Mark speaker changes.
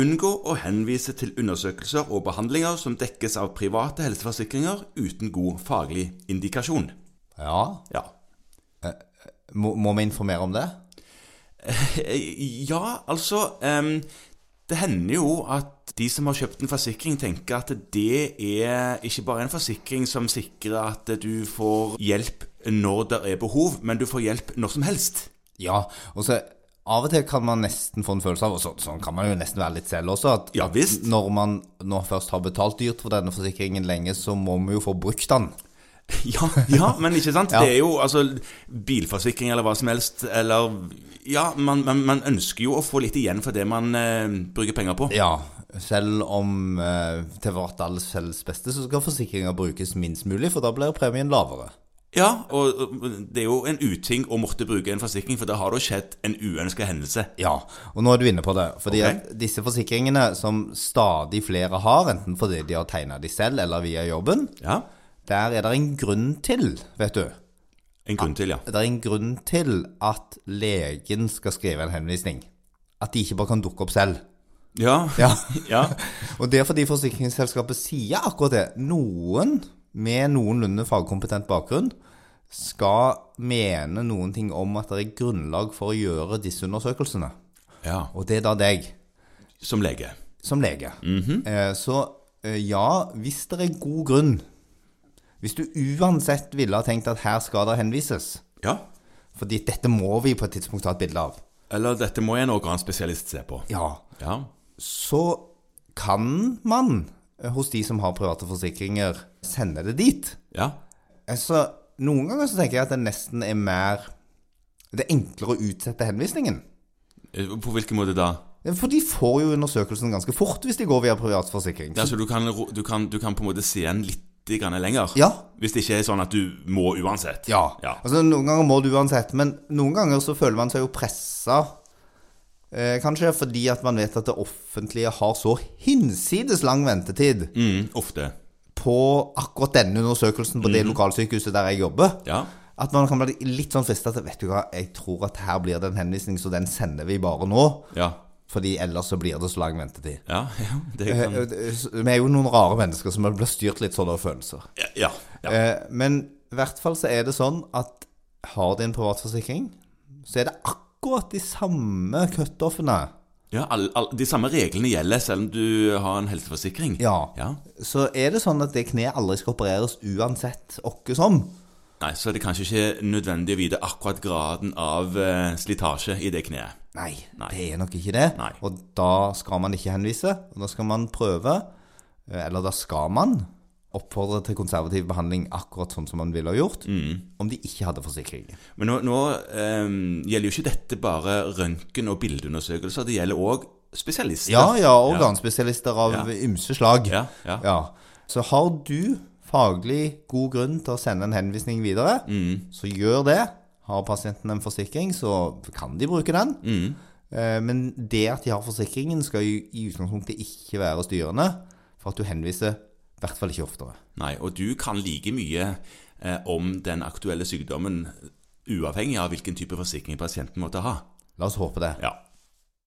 Speaker 1: Unngå å henvise til undersøkelser og behandlinger som dekkes av private helseforsikringer uten god faglig indikasjon.
Speaker 2: Ja.
Speaker 1: Ja.
Speaker 2: Må, må vi informere om det?
Speaker 1: Eh, Ja, altså ehm, Det hender jo at de som har kjøpt en forsikring, tenker at det er ikke bare en forsikring som sikrer at du får hjelp når det er behov, men du får hjelp når som helst.
Speaker 2: Ja. Og så av og til kan man nesten få en følelse av, og så, sånn kan man jo nesten være litt selv også, at
Speaker 1: Ja visst.
Speaker 2: når man nå først har betalt dyrt for denne forsikringen lenge, så må vi jo få brukt den.
Speaker 1: Ja, ja men ikke sant?
Speaker 2: Ja.
Speaker 1: Det er jo altså bilforsikring eller hva som helst, eller Ja, man, man, man ønsker jo å få litt igjen for det man eh, bruker penger på.
Speaker 2: Ja. Selv om eh, til vårt alles felles beste, så skal forsikringa brukes minst mulig, for da blir premien lavere.
Speaker 1: Ja, og og det er jo en uting å måtte bruke en forsikring, for da har det jo skjedd en uønska hendelse.
Speaker 2: Ja, og nå er du inne på det. Fordi
Speaker 1: Ok.
Speaker 2: at disse forsikringene som stadig flere har, enten fordi de har tegna de selv eller via jobben,
Speaker 1: Ja,
Speaker 2: der er det en grunn til, vet du.
Speaker 1: En grunn til, ja.
Speaker 2: Det er en grunn til at legen skal skrive en henvisning. At de ikke bare kan dukke opp selv.
Speaker 1: Ja.
Speaker 2: Ja.
Speaker 1: ja.
Speaker 2: Og det er fordi forsikringsselskapet sier akkurat det. Noen med noenlunde fagkompetent bakgrunn skal mene noen ting om at det er grunnlag for å gjøre disse undersøkelsene.
Speaker 1: ja.
Speaker 2: Og det er da deg.
Speaker 1: Som lege.
Speaker 2: som lege. Eh, Så eh, ja, hvis det er god grunn Hvis du uansett ville ha tenkt at her skal det henvises
Speaker 1: Ja.
Speaker 2: Fordi dette må vi på et tidspunkt ta et bilde av.
Speaker 1: Eller dette må en organspesialist se på.
Speaker 2: Ja.
Speaker 1: Ja.
Speaker 2: Så kan man eh, hos de som har private forsikringer, sende det dit.
Speaker 1: Ja.
Speaker 2: Altså, noen ganger så tenker jeg at det nesten er mer Det er enklere å utsette henvisningen. Eh,
Speaker 1: Eh, På hvilken måte da?
Speaker 2: For de får jo undersøkelsen ganske fort hvis de går via privat forsikring.
Speaker 1: Ja, så du kan, ro- du kan, du kan på en måte se en litt grann lenger?
Speaker 2: Ja.
Speaker 1: Hvis det ikke er sånn at du må uansett?
Speaker 2: Ja.
Speaker 1: Ja.
Speaker 2: Altså, noen ganger må du uansett, men noen ganger så føler man seg jo pressa. Eh, kanskje fordi at man vet at det offentlige har så hinsides lang ventetid
Speaker 1: Mm, ofte.
Speaker 2: på akkurat denne undersøkelsen på det lokalsykehuset der jeg jobber,
Speaker 1: Mhm. Ja.
Speaker 2: at man kan bli litt sånn frista til Vet du hva, jeg tror at her blir det en henvisning, så den sender vi bare nå.
Speaker 1: Ja.
Speaker 2: Fordi ellers så blir det så lang ventetid.
Speaker 1: Ja, ja, det
Speaker 2: Eh,
Speaker 1: kan
Speaker 2: eh, s- Vi er jo noen rare mennesker som blir styrt litt sånn av følelser.
Speaker 1: Ja. ja, ja.
Speaker 2: Eh, Men i hvert fall så er det sånn at har de en privatforsikring, så er det akkurat de samme cutoffene.
Speaker 1: ja all, all, de samme reglene gjelder selv om du har en helseforsikring?
Speaker 2: Ja.
Speaker 1: ja.
Speaker 2: Så er det sånn at det kneet aldri skal opereres uansett åkke som.
Speaker 1: Nei, så er det kanskje ikke nødvendig å vite akkurat graden av eh, slitasje i det kneet.
Speaker 2: Nei,
Speaker 1: Nei.
Speaker 2: det er nok ikke det.
Speaker 1: Nei.
Speaker 2: Og da skal man ikke henvise, og da skal man prøve, eh, eller da skal man oppfordre til konservativ behandling akkurat sånn som man ville ha gjort,
Speaker 1: Mm.
Speaker 2: om de ikke hadde forsikring.
Speaker 1: Men nå, nå eh, gjelder jo ikke dette bare røntgen- og bildeundersøkelser, det gjelder òg spesialister.
Speaker 2: Ja, ja, organspesialister av
Speaker 1: Ja.
Speaker 2: ymse slag.
Speaker 1: Ja, ja.
Speaker 2: Så har du faglig god grunn til å sende en henvisning videre,
Speaker 1: Mm.
Speaker 2: så gjør det. Har pasienten en forsikring, så kan de bruke den.
Speaker 1: Mm.
Speaker 2: Eh, Men det at de har forsikringen, skal jo i utgangspunktet ikke være styrende for at du henviser, i hvert fall ikke oftere.
Speaker 1: Nei, og du kan like mye eh, om den aktuelle sykdommen uavhengig av hvilken type forsikring pasienten måtte ha.
Speaker 2: La oss håpe det.
Speaker 1: Ja.